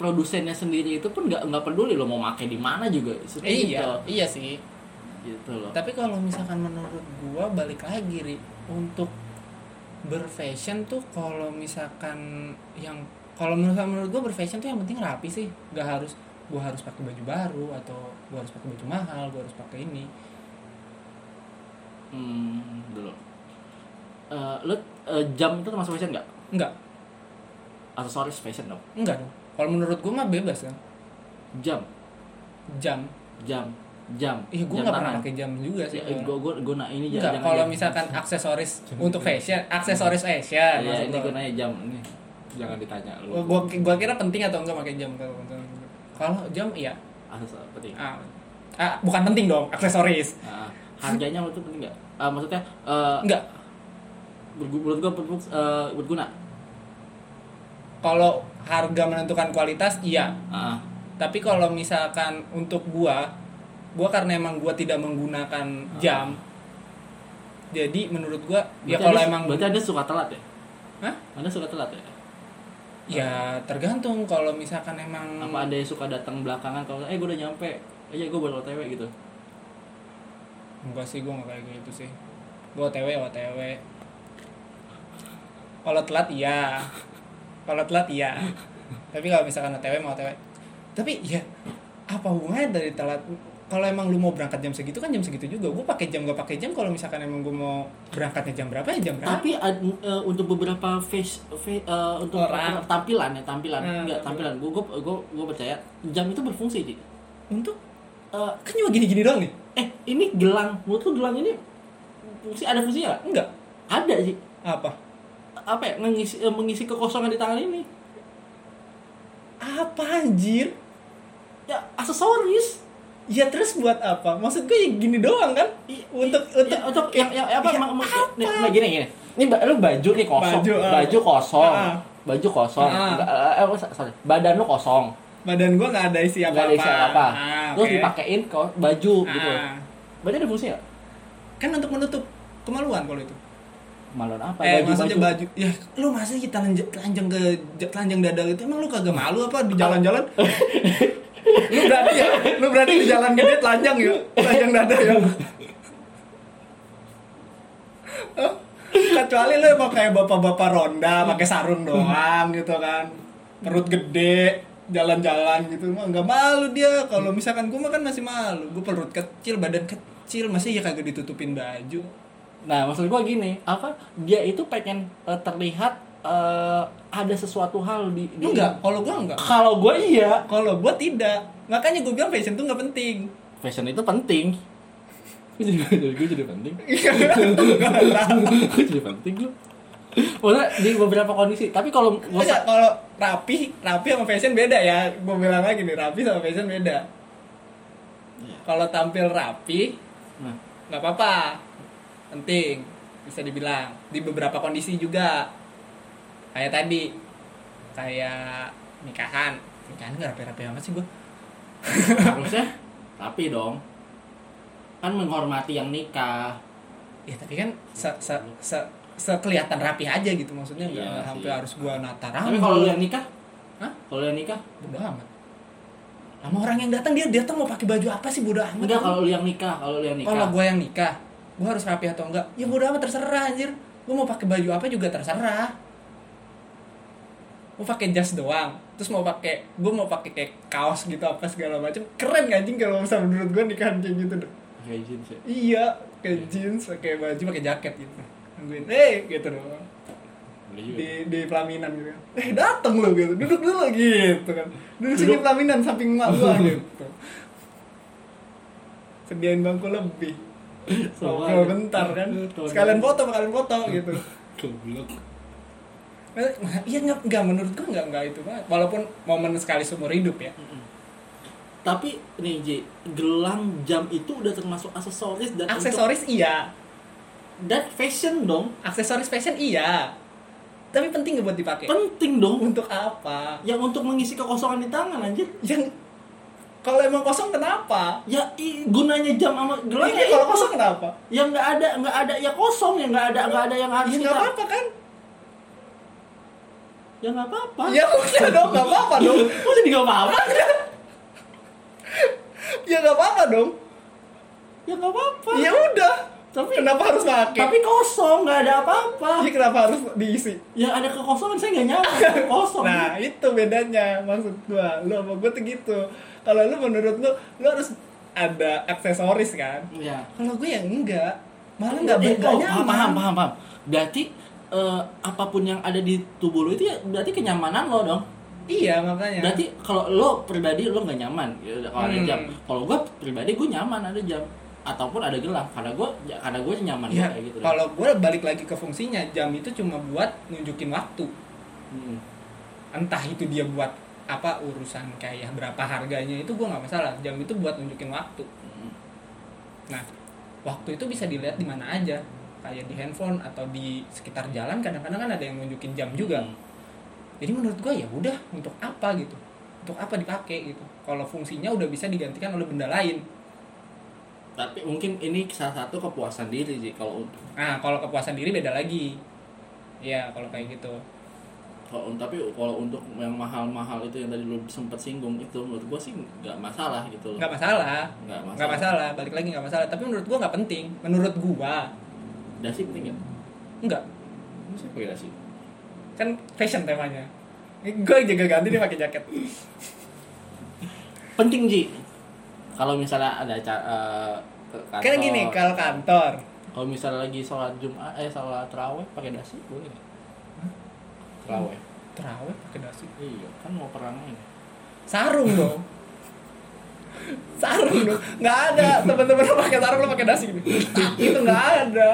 Speaker 2: produsennya sendiri itu pun nggak nggak peduli lo mau pakai di mana juga seperti
Speaker 1: iya iya sih
Speaker 2: itu gitu loh
Speaker 1: tapi kalau misalkan menurut gua balik lagi ri untuk berfashion tuh kalau misalkan yang kalau menurut menurut gua berfashion tuh yang penting rapi sih gak harus gua harus pakai baju baru atau gua harus pakai baju mahal gua harus pakai ini
Speaker 2: hmm, dulu Eh, lo eh, jam itu termasuk fashion nggak
Speaker 1: enggak
Speaker 2: aksesoris fashion dong
Speaker 1: enggak dong kalau menurut gua mah bebas kan
Speaker 2: jam
Speaker 1: jam
Speaker 2: jam jam
Speaker 1: Ih, gua
Speaker 2: jam
Speaker 1: nggak pernah pakai jam juga sih.
Speaker 2: Ya, eh, gua gua gua nah ini jam-
Speaker 1: Enggak,
Speaker 2: jangan
Speaker 1: kalau
Speaker 2: jam.
Speaker 1: misalkan
Speaker 2: [LAUGHS]
Speaker 1: aksesoris untuk fashion, aksesoris fashion
Speaker 2: ya,
Speaker 1: maksud
Speaker 2: ini
Speaker 1: gua.
Speaker 2: gua nanya jam ini jangan ditanya lu
Speaker 1: Oh, Gua- gua, gua kira penting atau enggak pakai jam kalau kalau jam iya
Speaker 2: aksesoris penting
Speaker 1: ah, ah, bukan penting dong aksesoris
Speaker 2: Ah, harganya menurut lu penting nggak Ah, maksudnya eh,
Speaker 1: enggak
Speaker 2: bergu- menurut gua perlu eh, berguna
Speaker 1: kalau harga menentukan kualitas iya
Speaker 2: Ah,
Speaker 1: tapi kalau misalkan untuk gua gua karena emang gua tidak
Speaker 2: Ah.
Speaker 1: menggunakan jam jadi menurut gua ya
Speaker 2: berarti
Speaker 1: kalau
Speaker 2: Anda-
Speaker 1: emang
Speaker 2: berarti anda suka telat ya
Speaker 1: Hah? Hmm.
Speaker 2: anda suka telat ya
Speaker 1: ya tergantung kalau misalkan emang
Speaker 2: apa anda yang suka datang belakangan kalau eh gue udah nyampe aja gue baru otw gitu
Speaker 1: Enggak sih, gue gak kayak gitu sih Gue otw, otw Kalau telat iya Kalau telat iya Tapi kalau misalkan otw mau otw Tapi ya apa hubungannya dari telat kalau emang lu mau berangkat jam segitu kan jam segitu juga gue pakai jam gak pakai jam kalau misalkan emang gue mau berangkatnya jam berapa ya jam berapa
Speaker 2: tapi ad- eh, untuk beberapa face, face- eh, untuk
Speaker 1: Orang.
Speaker 2: tampilan ya tampilan
Speaker 1: Hmm.
Speaker 2: enggak tampilan gue gue percaya jam itu berfungsi sih
Speaker 1: untuk kan cuma gini gini doang nih
Speaker 2: eh ini gelang menurut lu gelang ini fungsi ada fungsinya nggak?
Speaker 1: enggak
Speaker 2: ada sih
Speaker 1: apa
Speaker 2: apa ya mengisi, eh, mengisi kekosongan di tangan ini
Speaker 1: apa anjir
Speaker 2: ya aksesoris
Speaker 1: ya terus buat apa maksud gue ya gini doang kan
Speaker 2: I-
Speaker 1: untuk untuk
Speaker 2: Ya, untuk yang, yang apa,
Speaker 1: Ya,
Speaker 2: ma- ma- nih, nah, gini gini ini ba- lu baju nih kosong
Speaker 1: Baju,
Speaker 2: baju,
Speaker 1: ah.
Speaker 2: kosong
Speaker 1: Ah.
Speaker 2: baju kosong
Speaker 1: Ah.
Speaker 2: Ba- eh, eh, sorry badan lu kosong
Speaker 1: badan gua nggak ada isi apa-apa.
Speaker 2: nggak ada isi apa
Speaker 1: Ah,
Speaker 2: terus
Speaker 1: oke.
Speaker 2: dipakein ke baju gitu
Speaker 1: Ah.
Speaker 2: berarti ada fungsi nggak
Speaker 1: Kan untuk menutup kemaluan kalau itu.
Speaker 2: maluan apa
Speaker 1: eh, maksudnya baju. Ya, lu masa kita telanjang, telanjang ke telanjang dada gitu. Emang lu kagak malu apa di jalan-jalan? lu berani ya? Lu berani di jalan gede telanjang ya? Telanjang dada ya? Hah? kecuali lu emang kayak bapak-bapak ronda pakai sarung doang gitu kan perut gede jalan-jalan gitu mah nggak malu dia kalau misalkan gue makan masih malu gue perut kecil badan kecil masih ya kagak ditutupin baju
Speaker 2: nah maksud gua gini apa dia itu pengen eh, terlihat eh, ada sesuatu hal di, di
Speaker 1: enggak kalau gue enggak
Speaker 2: kalau gua iya
Speaker 1: kalau gue tidak makanya gue bilang fashion tuh nggak penting
Speaker 2: fashion itu penting Gua jadi, gua jadi penting
Speaker 1: Iya.
Speaker 2: [LAUGHS] jadi penting lu Maksudnya di beberapa kondisi Tapi kalau gua
Speaker 1: Enggak, kalau rapi, rapi sama fashion beda ya. Gue bilang lagi nih, rapi sama fashion beda.
Speaker 2: Iya.
Speaker 1: Kalau tampil rapi,
Speaker 2: Nah,
Speaker 1: nggak apa-apa penting bisa dibilang di beberapa kondisi juga kayak tadi kayak nikahan nikahan nggak rapi-rapi amat sih gue
Speaker 2: harusnya Tapi dong Kan menghormati yang nikah
Speaker 1: ya tapi kan se se se sekelihatan rapi aja gitu maksudnya nggak
Speaker 2: Iya
Speaker 1: sampai
Speaker 2: sih.
Speaker 1: harus gua nata
Speaker 2: Tapi
Speaker 1: rambut
Speaker 2: kalau lu yang nikah
Speaker 1: Hah?
Speaker 2: Kalau lu yang nikah
Speaker 1: bodo amat sama orang yang datang dia datang mau pakai baju apa sih bodo amat
Speaker 2: Enggak kalau lu yang nikah Kalau lu yang nikah
Speaker 1: kalau gue yang nikah gue harus rapi atau enggak ya bodo amat terserah anjir gue mau pakai baju apa juga terserah mau pakai jas doang terus mau pakai gue mau pakai kayak kaos gitu apa segala macam keren gak anjing kalau misalnya menurut gue nikahan kayak gitu deh
Speaker 2: Kayak jeans ya
Speaker 1: iya pakai jeans pakai baju pakai jaket gitu nungguin eh gitu doang
Speaker 2: Boleh juga.
Speaker 1: di di pelaminan gitu kan. eh dateng lo gitu duduk dulu gitu kan duduk sini
Speaker 2: Duduk.
Speaker 1: pelaminan samping emak
Speaker 2: [LAUGHS]
Speaker 1: gua gitu sediain bangku lebih
Speaker 2: Sama
Speaker 1: Ngobrol
Speaker 2: aja.
Speaker 1: bentar kan
Speaker 2: Tuh, tuh,
Speaker 1: sekalian
Speaker 2: tuh.
Speaker 1: foto sekalian foto gitu
Speaker 2: Goblok
Speaker 1: Eh, Iya nggak nggak menurut gue nggak nggak itu banget. Walaupun momen sekali seumur hidup ya.
Speaker 2: Tapi nih Ji, gelang jam itu udah termasuk aksesoris dan untuk-
Speaker 1: Aksesoris iya,
Speaker 2: dan fashion dong.
Speaker 1: aksesoris fashion iya. Tapi penting nggak buat dipakai?
Speaker 2: Penting dong
Speaker 1: Untuk apa?
Speaker 2: yang untuk mengisi kekosongan di tangan anjir.
Speaker 1: Yang kalau emang kosong kenapa?
Speaker 2: Ya i- gunanya jam sama gelang
Speaker 1: Iya
Speaker 2: ya
Speaker 1: kalau
Speaker 2: itu.
Speaker 1: kosong kenapa? Iya,
Speaker 2: yang nggak ada nggak ada ya kosong yang nggak ada nggak ada yang harus
Speaker 1: Ya nggak
Speaker 2: kita
Speaker 1: apa-apa kan?
Speaker 2: ya nggak apa-apa
Speaker 1: Ya udah dong nggak apa-apa dong.
Speaker 2: kok jadi nggak apa-apa
Speaker 1: Ya nggak apa-apa dong.
Speaker 2: ya nggak apa-apa
Speaker 1: Ya udah.
Speaker 2: Tapi-
Speaker 1: kenapa harus pakai?
Speaker 2: tapi kosong nggak ada apa-apa
Speaker 1: Ya, kenapa harus diisi?
Speaker 2: yang ada kekosongan saya nggak nyaman kosong
Speaker 1: Nah itu bedanya maksud gua. Lu sama gua tuh gitu. Kalau lu menurut lu, lu harus ada aksesoris kan?
Speaker 2: ya
Speaker 1: Kalau gue yang enggak, malah enggak
Speaker 2: Eh,
Speaker 1: beda
Speaker 2: oh,
Speaker 1: nyaman.
Speaker 2: paham, paham paham paham berarti eh, apapun yang ada di tubuh lo itu ya berarti kenyamanan lo dong
Speaker 1: Iya makanya.
Speaker 2: berarti kalau lo pribadi lo nggak nyaman ya, kalau ada
Speaker 1: Hmm.
Speaker 2: jam kalau gue pribadi gue nyaman ada jam ataupun ada gelang karena gue ya, karena gue nyaman
Speaker 1: ya,
Speaker 2: kayak gitu
Speaker 1: kalau gue balik lagi ke fungsinya, jam itu cuma buat nunjukin waktu.
Speaker 2: Hmm.
Speaker 1: Entah itu dia buat apa urusan kayak berapa harganya itu gue nggak masalah. Jam itu buat nunjukin waktu.
Speaker 2: Hmm.
Speaker 1: Nah, waktu itu bisa dilihat di mana aja. Kayak di handphone atau di sekitar jalan kadang-kadang kan ada yang nunjukin jam juga.
Speaker 2: Hmm.
Speaker 1: Jadi menurut gue ya udah untuk apa gitu. Untuk apa dipakai gitu. Kalau fungsinya udah bisa digantikan oleh benda lain.
Speaker 2: tapi mungkin ini salah satu kepuasan diri sih kalau untuk
Speaker 1: Nah, kalau kepuasan diri beda lagi. Iya, kalau kayak gitu.
Speaker 2: kalau tapi kalau untuk yang mahal-mahal itu yang tadi lu sempat singgung itu menurut gua sih nggak masalah gitu loh
Speaker 1: Nggak masalah.
Speaker 2: nggak masalah
Speaker 1: Nggak masalah, balik lagi nggak masalah. Tapi menurut gua nggak penting. Menurut gua,
Speaker 2: dasi penting ya
Speaker 1: nggak.
Speaker 2: Masa pakai dasi
Speaker 1: Kan fashion temanya. Gue jaga ganti dia pakai jaket.
Speaker 2: penting ji kalau misalnya ada acara eh, ke kantor,
Speaker 1: Karena gini, kalau kantor,
Speaker 2: kalau misalnya lagi sholat jumat eh sholat terawih pakai dasi boleh nggak? terawih
Speaker 1: terawih pakai dasi.
Speaker 2: iya kan mau perangin
Speaker 1: Sarung dong. sarung dong. Nggak ada teman-teman lu pakai sarung lu pakai dasi gitu. Itu nggak ada.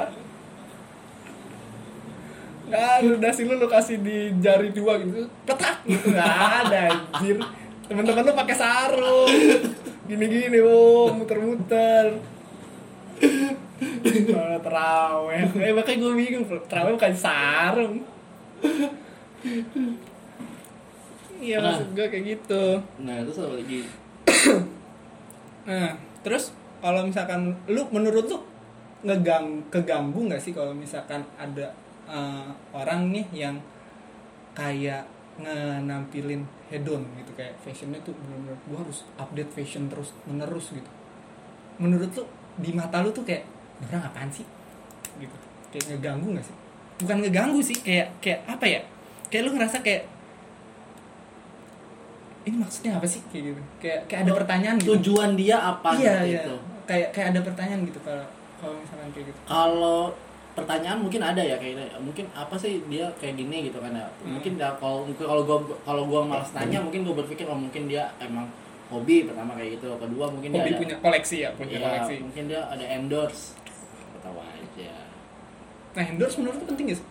Speaker 1: Nggak ada dasi lu lu kasih di jari dua gitu. Petak gitu nggak ada anjir. Teman-teman lu pakai sarung. Gini-gini, oh, muter-muter. Malah terawih. Eh, makanya gue bingung, terawih bukan sarung. Iya,
Speaker 2: Nah.
Speaker 1: maksud gue kayak gitu.
Speaker 2: nah terus apa lagi
Speaker 1: Nah, terus kalau misalkan lu menurut lu ngegang keganggu nggak sih kalau misalkan ada eh, orang nih yang kayak ngenampilin hedon gitu kayak fashionnya tuh bener-bener gua harus update fashion terus menerus gitu menurut lu di mata lu tuh kayak "Ini orang apaan sih gitu kayak ngeganggu nggak sih bukan ngeganggu sih kayak kayak apa ya kayak lu ngerasa kayak ini maksudnya apa sih kayak gitu kayak kayak ada pertanyaan
Speaker 2: Kan
Speaker 1: gitu
Speaker 2: tujuan dia apa
Speaker 1: iya,
Speaker 2: gitu
Speaker 1: iya. Kayak kayak ada pertanyaan gitu kalau kalau misalkan kayak gitu.
Speaker 2: kalau pertanyaan mungkin ada ya kayaknya mungkin apa sih dia kayak gini gitu kan ya mungkin ya kalau kalau gua kalau gua malas tanya mungkin gua berpikir oh mungkin dia emang hobi pertama kayak gitu kedua mungkin
Speaker 1: Hobi
Speaker 2: dia ada
Speaker 1: punya koleksi ya, punya
Speaker 2: Iya,
Speaker 1: koleksi.
Speaker 2: mungkin dia ada endorse ketawa aja
Speaker 1: Nah, endorse menurut lu penting gak sih?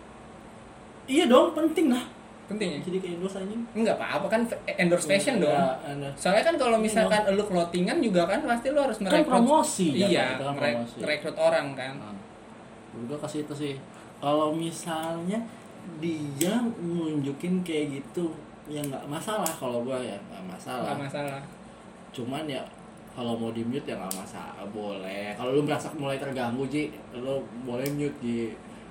Speaker 2: iya dong penting lah
Speaker 1: Penting ya?
Speaker 2: Iya, jadi kayak endorse anjing
Speaker 1: Enggak apa-apa kan fa- endorse fashion
Speaker 2: Iya,
Speaker 1: dong.
Speaker 2: endorse.
Speaker 1: Soalnya kan kalau misalkan lu clothingan juga kan pasti lu harus
Speaker 2: kan
Speaker 1: merekrut
Speaker 2: promosi
Speaker 1: Iya,
Speaker 2: jatuh, kan
Speaker 1: merek-
Speaker 2: promosi
Speaker 1: merekrut orang kan.
Speaker 2: Nah, gue kasih itu sih. Kalau misalnya dia nunjukin kayak gitu, ya nggak masalah kalau gua ya nggak masalah.
Speaker 1: Enggak masalah.
Speaker 2: Cuman ya kalau mau di mute ya nggak masalah, boleh. Kalau lu merasa mulai terganggu ji, lu boleh mute ji.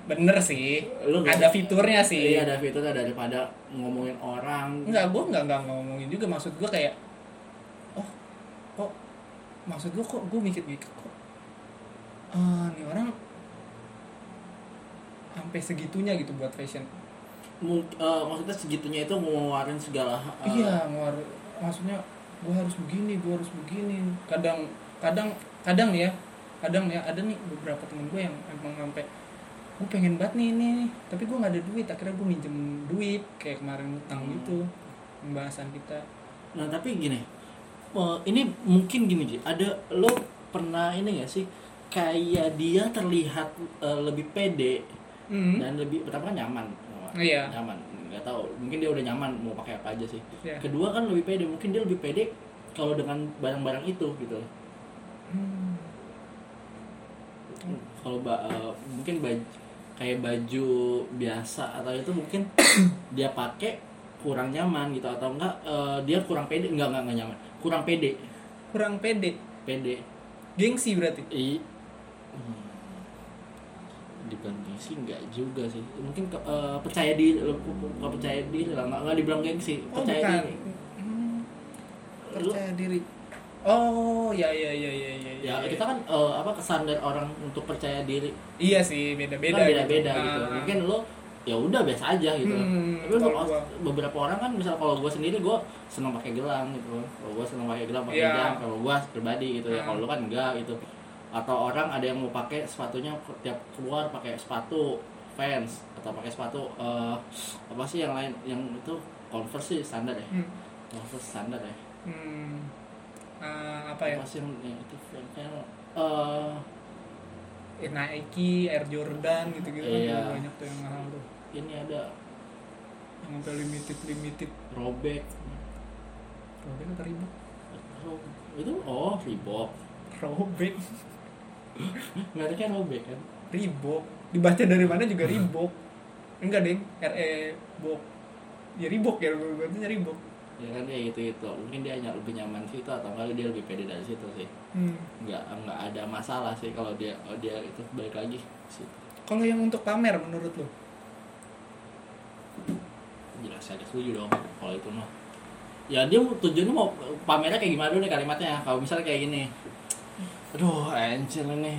Speaker 1: Bener sih.
Speaker 2: Lu nggak-
Speaker 1: ada fiturnya sih.
Speaker 2: Iya ada fitur ada daripada ngomongin orang.
Speaker 1: Enggak, gue enggak enggak ngomongin juga maksud gue kayak oh kok maksud gue kok gue mikir-mikir kok eh nih orang sampai segitunya gitu buat fashion.
Speaker 2: Mung- eh, maksudnya segitunya itu ngeluarin segala. eh,
Speaker 1: iya, ngeluar- maksudnya gue harus begini, gue harus begini. Kadang kadang kadang ya, kadang ya ada nih beberapa temen gue yang emang sampai gue pengen banget nih ini nih, tapi gue nggak ada duit akhirnya gue minjem duit kayak kemarin utang
Speaker 2: Hmm.
Speaker 1: gitu pembahasan kita
Speaker 2: Nah tapi gini, eh, ini mungkin gini Ji, ada lo pernah ini gak sih kayak dia terlihat eh, lebih pede
Speaker 1: Hmm.
Speaker 2: dan lebih pertama kan nyaman,
Speaker 1: Iya.
Speaker 2: nyaman, nggak tahu mungkin dia udah nyaman mau pakai apa aja sih
Speaker 1: Iya.
Speaker 2: kedua kan lebih pede mungkin dia lebih pede kalau dengan barang-barang itu gitu loh
Speaker 1: Hmm.
Speaker 2: kalau ba- eh, mungkin baj- kayak baju biasa atau itu
Speaker 1: [COUGHS]
Speaker 2: mungkin dia pakai kurang nyaman gitu atau enggak eh, dia kurang pede enggak enggak enggak nyaman kurang pede
Speaker 1: kurang pede
Speaker 2: pede
Speaker 1: gengsi berarti
Speaker 2: I hmm. dibilang gengsi enggak juga sih mungkin ke- eh, percaya diri lu- lu- nggak percaya diri lah enggak, enggak dibilang gengsi
Speaker 1: oh bukan
Speaker 2: percaya diri
Speaker 1: Hmm,
Speaker 2: Lu-
Speaker 1: percaya diri oh ya ya ya ya ya
Speaker 2: ya kita kan eh, apa kesan dari orang untuk percaya diri
Speaker 1: iya sih beda beda Ah.
Speaker 2: kan beda-beda gitu mungkin lo ya udah biasa aja gitu
Speaker 1: Hmm,
Speaker 2: tapi
Speaker 1: kalau
Speaker 2: kalau
Speaker 1: gua-
Speaker 2: beberapa orang kan misal kalau gue sendiri gue seneng pakai gelang gitu kalau gue seneng pakai gelang pakai
Speaker 1: Iya.
Speaker 2: jam kalau gue pribadi gitu ya
Speaker 1: Hmm.
Speaker 2: kalau lo kan enggak gitu atau orang ada yang mau pakai sepatunya tiap keluar pakai sepatu fans atau pakai sepatu eh, apa sih yang lain yang itu converse sih standar ya
Speaker 1: Hmm.
Speaker 2: converse standar ya
Speaker 1: Hmm. Eh, apa ya
Speaker 2: apa sih yang yang itu fans Eh,
Speaker 1: Eh, Nike Air Jordan gitu gitu
Speaker 2: Iya.
Speaker 1: kan banyak tuh yang mahal tuh
Speaker 2: ini ada
Speaker 1: yang sampai limited limited
Speaker 2: robek
Speaker 1: robek atau ribet
Speaker 2: itu oh Reebok
Speaker 1: robek
Speaker 2: mereknya robek kan
Speaker 1: Reebok dibaca dari mana juga
Speaker 2: Hmm.
Speaker 1: Reebok enggak deng R E Bok ya Reebok ya gue bacanya Reebok
Speaker 2: ya kan kayak gitu gitu mungkin dia ny- lebih nyaman situ atau enggak dia lebih pede dari situ sih
Speaker 1: hmm.
Speaker 2: nggak nggak ada masalah sih kalau dia kalau dia itu balik lagi gitu. ke situ
Speaker 1: kalau yang untuk pamer menurut lo
Speaker 2: jelas ada setuju dong kalau itu mah ya dia mau- tujuannya mau pamernya kayak gimana dulu nih kalimatnya kalau misalnya kayak gini aduh anjir ini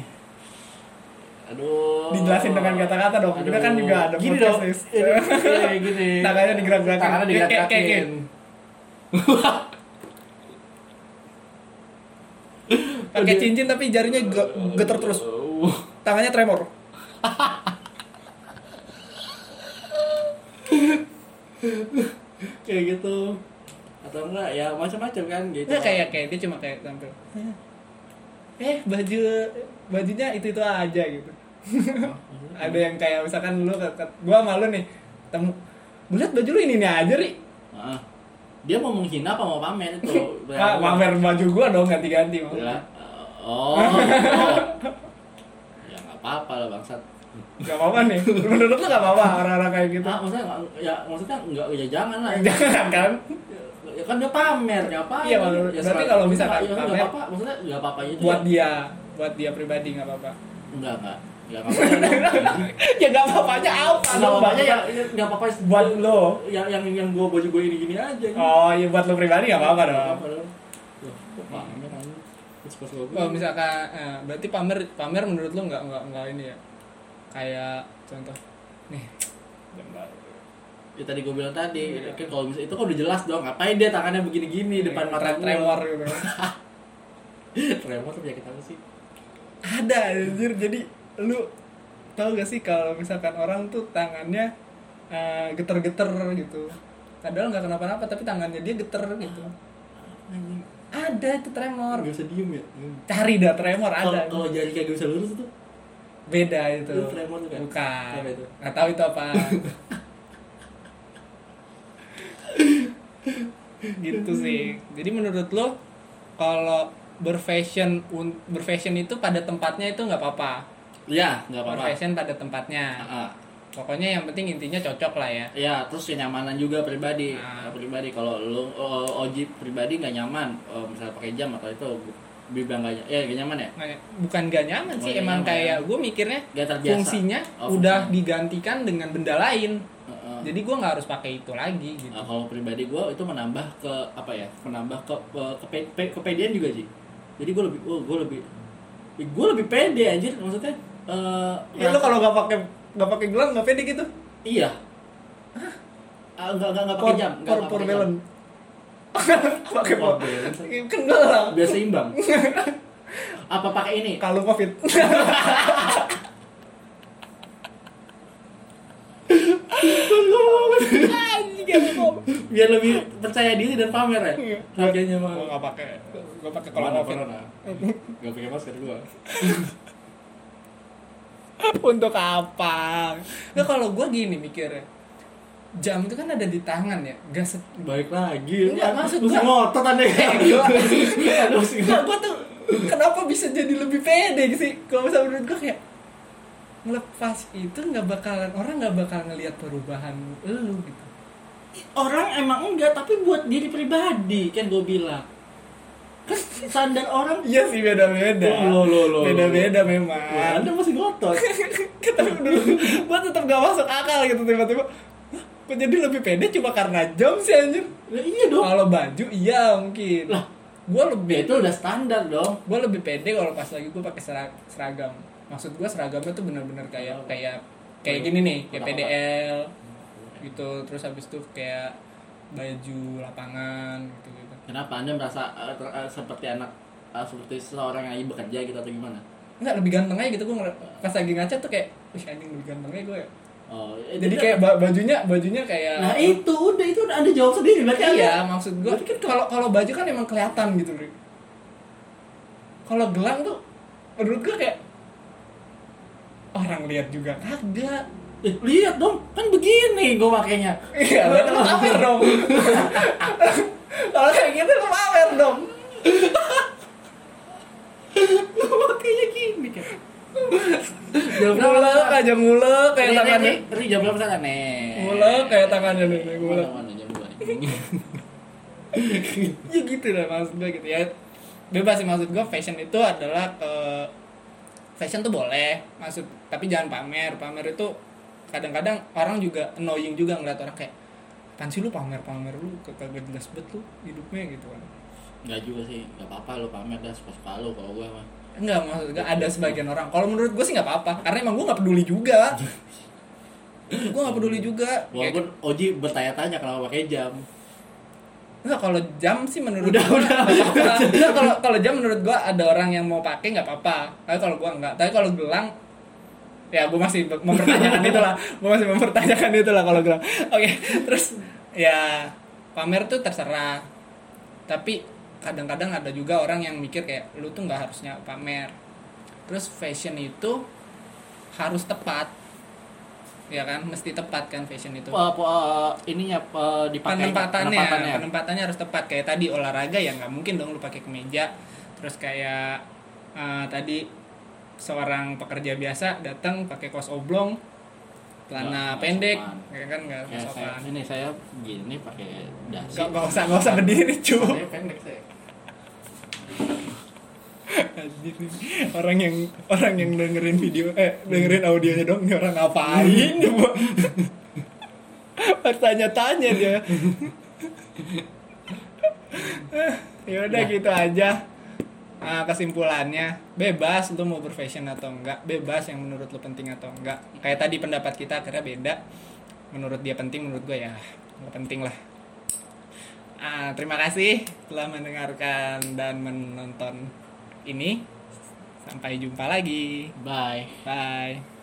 Speaker 2: aduh
Speaker 1: Dijelasin dengan kata-kata dong. Kita kan juga ada
Speaker 2: gini
Speaker 1: podcast,
Speaker 2: dong
Speaker 1: Nis.
Speaker 2: Iya, gini
Speaker 1: [LAUGHS] Tangannya digerak-gerakin.
Speaker 2: tangannya
Speaker 1: Kayak- kayak- kayak-
Speaker 2: digerak-gerakin [LAUGHS]
Speaker 1: pakai cincin tapi jarinya ge- geter terus tangannya tremor
Speaker 2: kayak gitu atau enggak ya macam-macam kan gitu
Speaker 1: Nggak kayak kayak dia cuma kayak tampil eh baju bajunya itu itu aja gitu ada yang kayak misalkan lu ke- ke- gua sama lu nih temu "Gua liat baju lu ini nih aja ri
Speaker 2: Ah. dia mau menghina apa mau pamer
Speaker 1: [LAUGHS]
Speaker 2: itu
Speaker 1: ah, pamer baju gua dong ganti-ganti mau
Speaker 2: Ya, oh, oh. ya nggak apa-apa lah bangsat
Speaker 1: gak apa-apa nih menurut lu gak apa-apa orang-orang kayak gitu
Speaker 2: ah, maksudnya nggak- ya maksudnya nggak ya jangan
Speaker 1: [LAUGHS]
Speaker 2: lah
Speaker 1: jangan kan
Speaker 2: ya kan dia pamer ya apa
Speaker 1: Iya, maksud-
Speaker 2: ya,
Speaker 1: berarti
Speaker 2: serang-
Speaker 1: kalau bisa
Speaker 2: nggak-
Speaker 1: kan
Speaker 2: ya, nggak
Speaker 1: pamer.
Speaker 2: apa-apa maksudnya nggak apa-apa itu
Speaker 1: buat
Speaker 2: ya.
Speaker 1: dia buat dia pribadi gak apa-apa
Speaker 2: nggak nggak
Speaker 1: [LAUGHS]
Speaker 2: nggak apa-apa
Speaker 1: ya gak apa-apanya apa
Speaker 2: nggak
Speaker 1: dong
Speaker 2: apa-apa ya
Speaker 1: Bang?
Speaker 2: nggak apa-apa
Speaker 1: buat lo
Speaker 2: yang yang yang gue baju gue ini gini aja
Speaker 1: oh ya buat lo pribadi gak apa-apa dong
Speaker 2: dong Loh, kok pamer anjing? Terus pas gua
Speaker 1: Kalau
Speaker 2: beli,
Speaker 1: misalkan eh, berarti pamer pamer menurut lo nggak nggak nggak ini ya? Kayak contoh nih jam baru.
Speaker 2: ya tadi gue bilang tadi kan kalau misalnya itu kan udah jelas dong ngapain dia tangannya begini-gini depan
Speaker 1: Tre-
Speaker 2: mata gua.
Speaker 1: tremor gitu.
Speaker 2: [LAUGHS] tremor tuh penyakit apa sih
Speaker 1: [LAUGHS] Ada anjir jadi lu tau gak sih kalau misalkan orang tuh tangannya eh, geter-geter gitu. Padahal nggak kenapa-napa tapi tangannya dia geter gitu.
Speaker 2: anjing
Speaker 1: Ada itu tremor.
Speaker 2: gak bisa diem ya
Speaker 1: Cari dah tremor
Speaker 2: kalau
Speaker 1: ada.
Speaker 2: kalau jari kayak gak bisa lurus tuh
Speaker 1: Beda itu.
Speaker 2: Itu tremor tuh kan?
Speaker 1: Bukan.
Speaker 2: Apa itu?
Speaker 1: Nggak tahu itu [LAUGHS] apa. gitu sih. Jadi menurut lo kalau berfashion un- berfashion itu pada tempatnya itu nggak apa-apa.
Speaker 2: iya nggak apa-apa
Speaker 1: Berfashion pada tempatnya.
Speaker 2: Ah, ah.
Speaker 1: Pokoknya yang penting intinya cocok lah ya.
Speaker 2: Ya, terus kenyamanan juga pribadi.
Speaker 1: Ah.
Speaker 2: Ya, pribadi kalau lu oh, Oji pribadi nggak nyaman, oh, misalnya pakai jam atau itu bilang nggak ya nggak nyaman ya.
Speaker 1: Nggak- Nah, Bukan gak nyaman sih,
Speaker 2: Nggak
Speaker 1: emang
Speaker 2: nyaman.
Speaker 1: kayak gue mikirnya
Speaker 2: Nggak terbiasa.
Speaker 1: fungsinya Oh.
Speaker 2: Oh,
Speaker 1: udah
Speaker 2: fungsinya.
Speaker 1: digantikan dengan benda lain.
Speaker 2: Heeh.
Speaker 1: Jadi gue nggak harus pakai itu lagi gitu.
Speaker 2: Nah, kalau pribadi gue itu menambah ke apa ya menambah ke, ke, kepe- pe- kepedean juga sih jadi gue lebih oh, gue lebih gue lebih pede anjir maksudnya eh,
Speaker 1: Ya lu
Speaker 2: ngerasa-
Speaker 1: kalau nggak pakai nggak pakai gelang nggak pede gitu.
Speaker 2: iya Ah, nggak nggak nggak
Speaker 1: Por,
Speaker 2: pakai jam nggak
Speaker 1: por,
Speaker 2: nggak
Speaker 1: por
Speaker 2: pakai jam.
Speaker 1: melon. pakai
Speaker 2: Por
Speaker 1: por.
Speaker 2: melon.
Speaker 1: Kan gelang.
Speaker 2: biar seimbang apa pakai ini
Speaker 1: Kalau covid. Anjing, kalau covid.
Speaker 2: biar lebih percaya diri dan pamer ya
Speaker 1: Iya.
Speaker 2: harganya mah
Speaker 1: Gua nggak pakai. Gua pakai kalau
Speaker 2: corona
Speaker 1: covid.
Speaker 2: corona nggak pakai masker gue
Speaker 1: Untuk apa? Nah kalau gue gini mikirnya. jam itu kan ada di tangan ya nggak se-
Speaker 2: Baik lagi.
Speaker 1: Enggak, maksud
Speaker 2: Pusing
Speaker 1: gua- Eh,
Speaker 2: otot anda ya. [LAUGHS] Aduh, pusing
Speaker 1: Enggak, gue tuh kenapa bisa jadi lebih pede sih? Kalau misalnya menurut gue kayak ngelepas itu nggak bakalan orang nggak bakal ngelihat perubahan lu gitu.
Speaker 2: orang emang enggak tapi buat diri pribadi kan gue bilang kan standar orang
Speaker 1: Iya sih beda-beda.
Speaker 2: Loh, loh, loh,
Speaker 1: Beda-beda
Speaker 2: Wah,
Speaker 1: [LAUGHS] memang.
Speaker 2: anda masih ngotot
Speaker 1: Tapi menurut gue tetap gak masuk akal gitu tiba-tiba. "Hah, Kok jadi lebih pede cuma karena jam sih anjir?
Speaker 2: Ya, iya dong
Speaker 1: Kalau baju iya mungkin.
Speaker 2: Lah.
Speaker 1: gue
Speaker 2: ya
Speaker 1: lebih
Speaker 2: itu udah standar dong
Speaker 1: gue lebih pede kalau pas lagi gue pakai sera- seragam maksud gue seragamnya tuh bener-bener kayak kayak Oh. kayak gini nih kayak
Speaker 2: Kotak-kotak.
Speaker 1: PDL gitu terus habis itu kayak baju lapangan gitu gitu
Speaker 2: kenapa anda merasa eh, ter- eh, seperti anak eh, seperti seorang yang lagi bekerja gitu atau gimana
Speaker 1: nggak lebih ganteng aja gitu gue pas lagi ngaca tuh kayak wih anjing lebih ganteng aja gue ya."
Speaker 2: oh ya,
Speaker 1: jadi
Speaker 2: udah.
Speaker 1: kayak ba- bajunya bajunya kayak
Speaker 2: nah itu udah itu udah anda jawab sendiri berarti anda
Speaker 1: iya maksud gue kan kalau kalau baju kan emang kelihatan gitu Ri. kalau gelang tuh menurut gue kayak orang lihat juga kagak
Speaker 2: Eh, lihat dong kan begini gue makainya [LAUGHS]
Speaker 1: Iya, berarti lu pamer dong. Kalau kayak gitu lu pamer dong.
Speaker 2: makainya gini kan jam
Speaker 1: Mulek aja mulek kayak tangannya.
Speaker 2: Ri, jam berapa sekarang? Nih.
Speaker 1: Mulek kayak tangannya nih, nih, mulek.
Speaker 2: Mana-mana jam dua.
Speaker 1: Ya gitu lah maksud gue gitu ya. Bebas sih maksud gue fashion itu adalah eh, fashion tuh boleh maksud tapi jangan pamer. Pamer itu kadang-kadang orang juga annoying juga ngeliat orang kayak kan sih lu pamer-pamer lu kok kagak jelas bet lu hidupnya gitu kan.
Speaker 2: Enggak juga sih, enggak apa-apa lu pamer dah suka-suka lu kalau gua mah.
Speaker 1: Enggak maksud gue ada sebagian orang. Kalau menurut gue sih nggak apa-apa karena emang gue nggak peduli juga. gue nggak peduli juga.
Speaker 2: Walaupun Oji bertanya-tanya kenapa pakai jam.
Speaker 1: Enggak kalau jam sih menurut
Speaker 2: Udah,
Speaker 1: gua,
Speaker 2: udah.
Speaker 1: nggak apa-apa. Nggak, kalau kalau jam menurut gua ada orang yang mau pakai nggak apa-apa. Tapi kalau gua nggak. Tapi kalau gelang ya gua masih mempertanyakan itulah. Gua masih mempertanyakan itulah kalau gelang. Oke, terus ya pamer tuh terserah. Tapi kadang-kadang ada juga orang yang mikir kayak lu tuh nggak harusnya pamer. Terus fashion itu harus tepat. Ya kan, mesti tepat kan fashion itu
Speaker 2: Po, po, ininya po, dipakai
Speaker 1: penempatannya, penempatannya harus tepat kayak tadi olahraga ya nggak mungkin dong lu pakai kemeja terus kayak eh, tadi seorang pekerja biasa datang pakai kaos oblong
Speaker 2: Nggak-
Speaker 1: celana
Speaker 2: nggak
Speaker 1: pendek
Speaker 2: sopan.
Speaker 1: ya kan nggak
Speaker 2: Ya, saya,
Speaker 1: sopan
Speaker 2: ini saya gini pakai dasi.
Speaker 1: nggak nggak usah nggak usah berdiri cu
Speaker 2: Saya pendek saya.
Speaker 1: Anjir nih, orang yang orang yang dengerin video eh dengerin audionya dong ini orang ngapain [LAUGHS] coba bertanya-tanya dia [LAUGHS] ya udah gitu aja Ah, kesimpulannya bebas lu mau berfashion atau enggak bebas yang menurut lu penting atau enggak kayak tadi pendapat kita akhirnya beda menurut dia penting menurut gue ya nggak penting lah Ah, terima kasih telah mendengarkan dan menonton ini. Sampai jumpa lagi.
Speaker 2: Bye.
Speaker 1: Bye.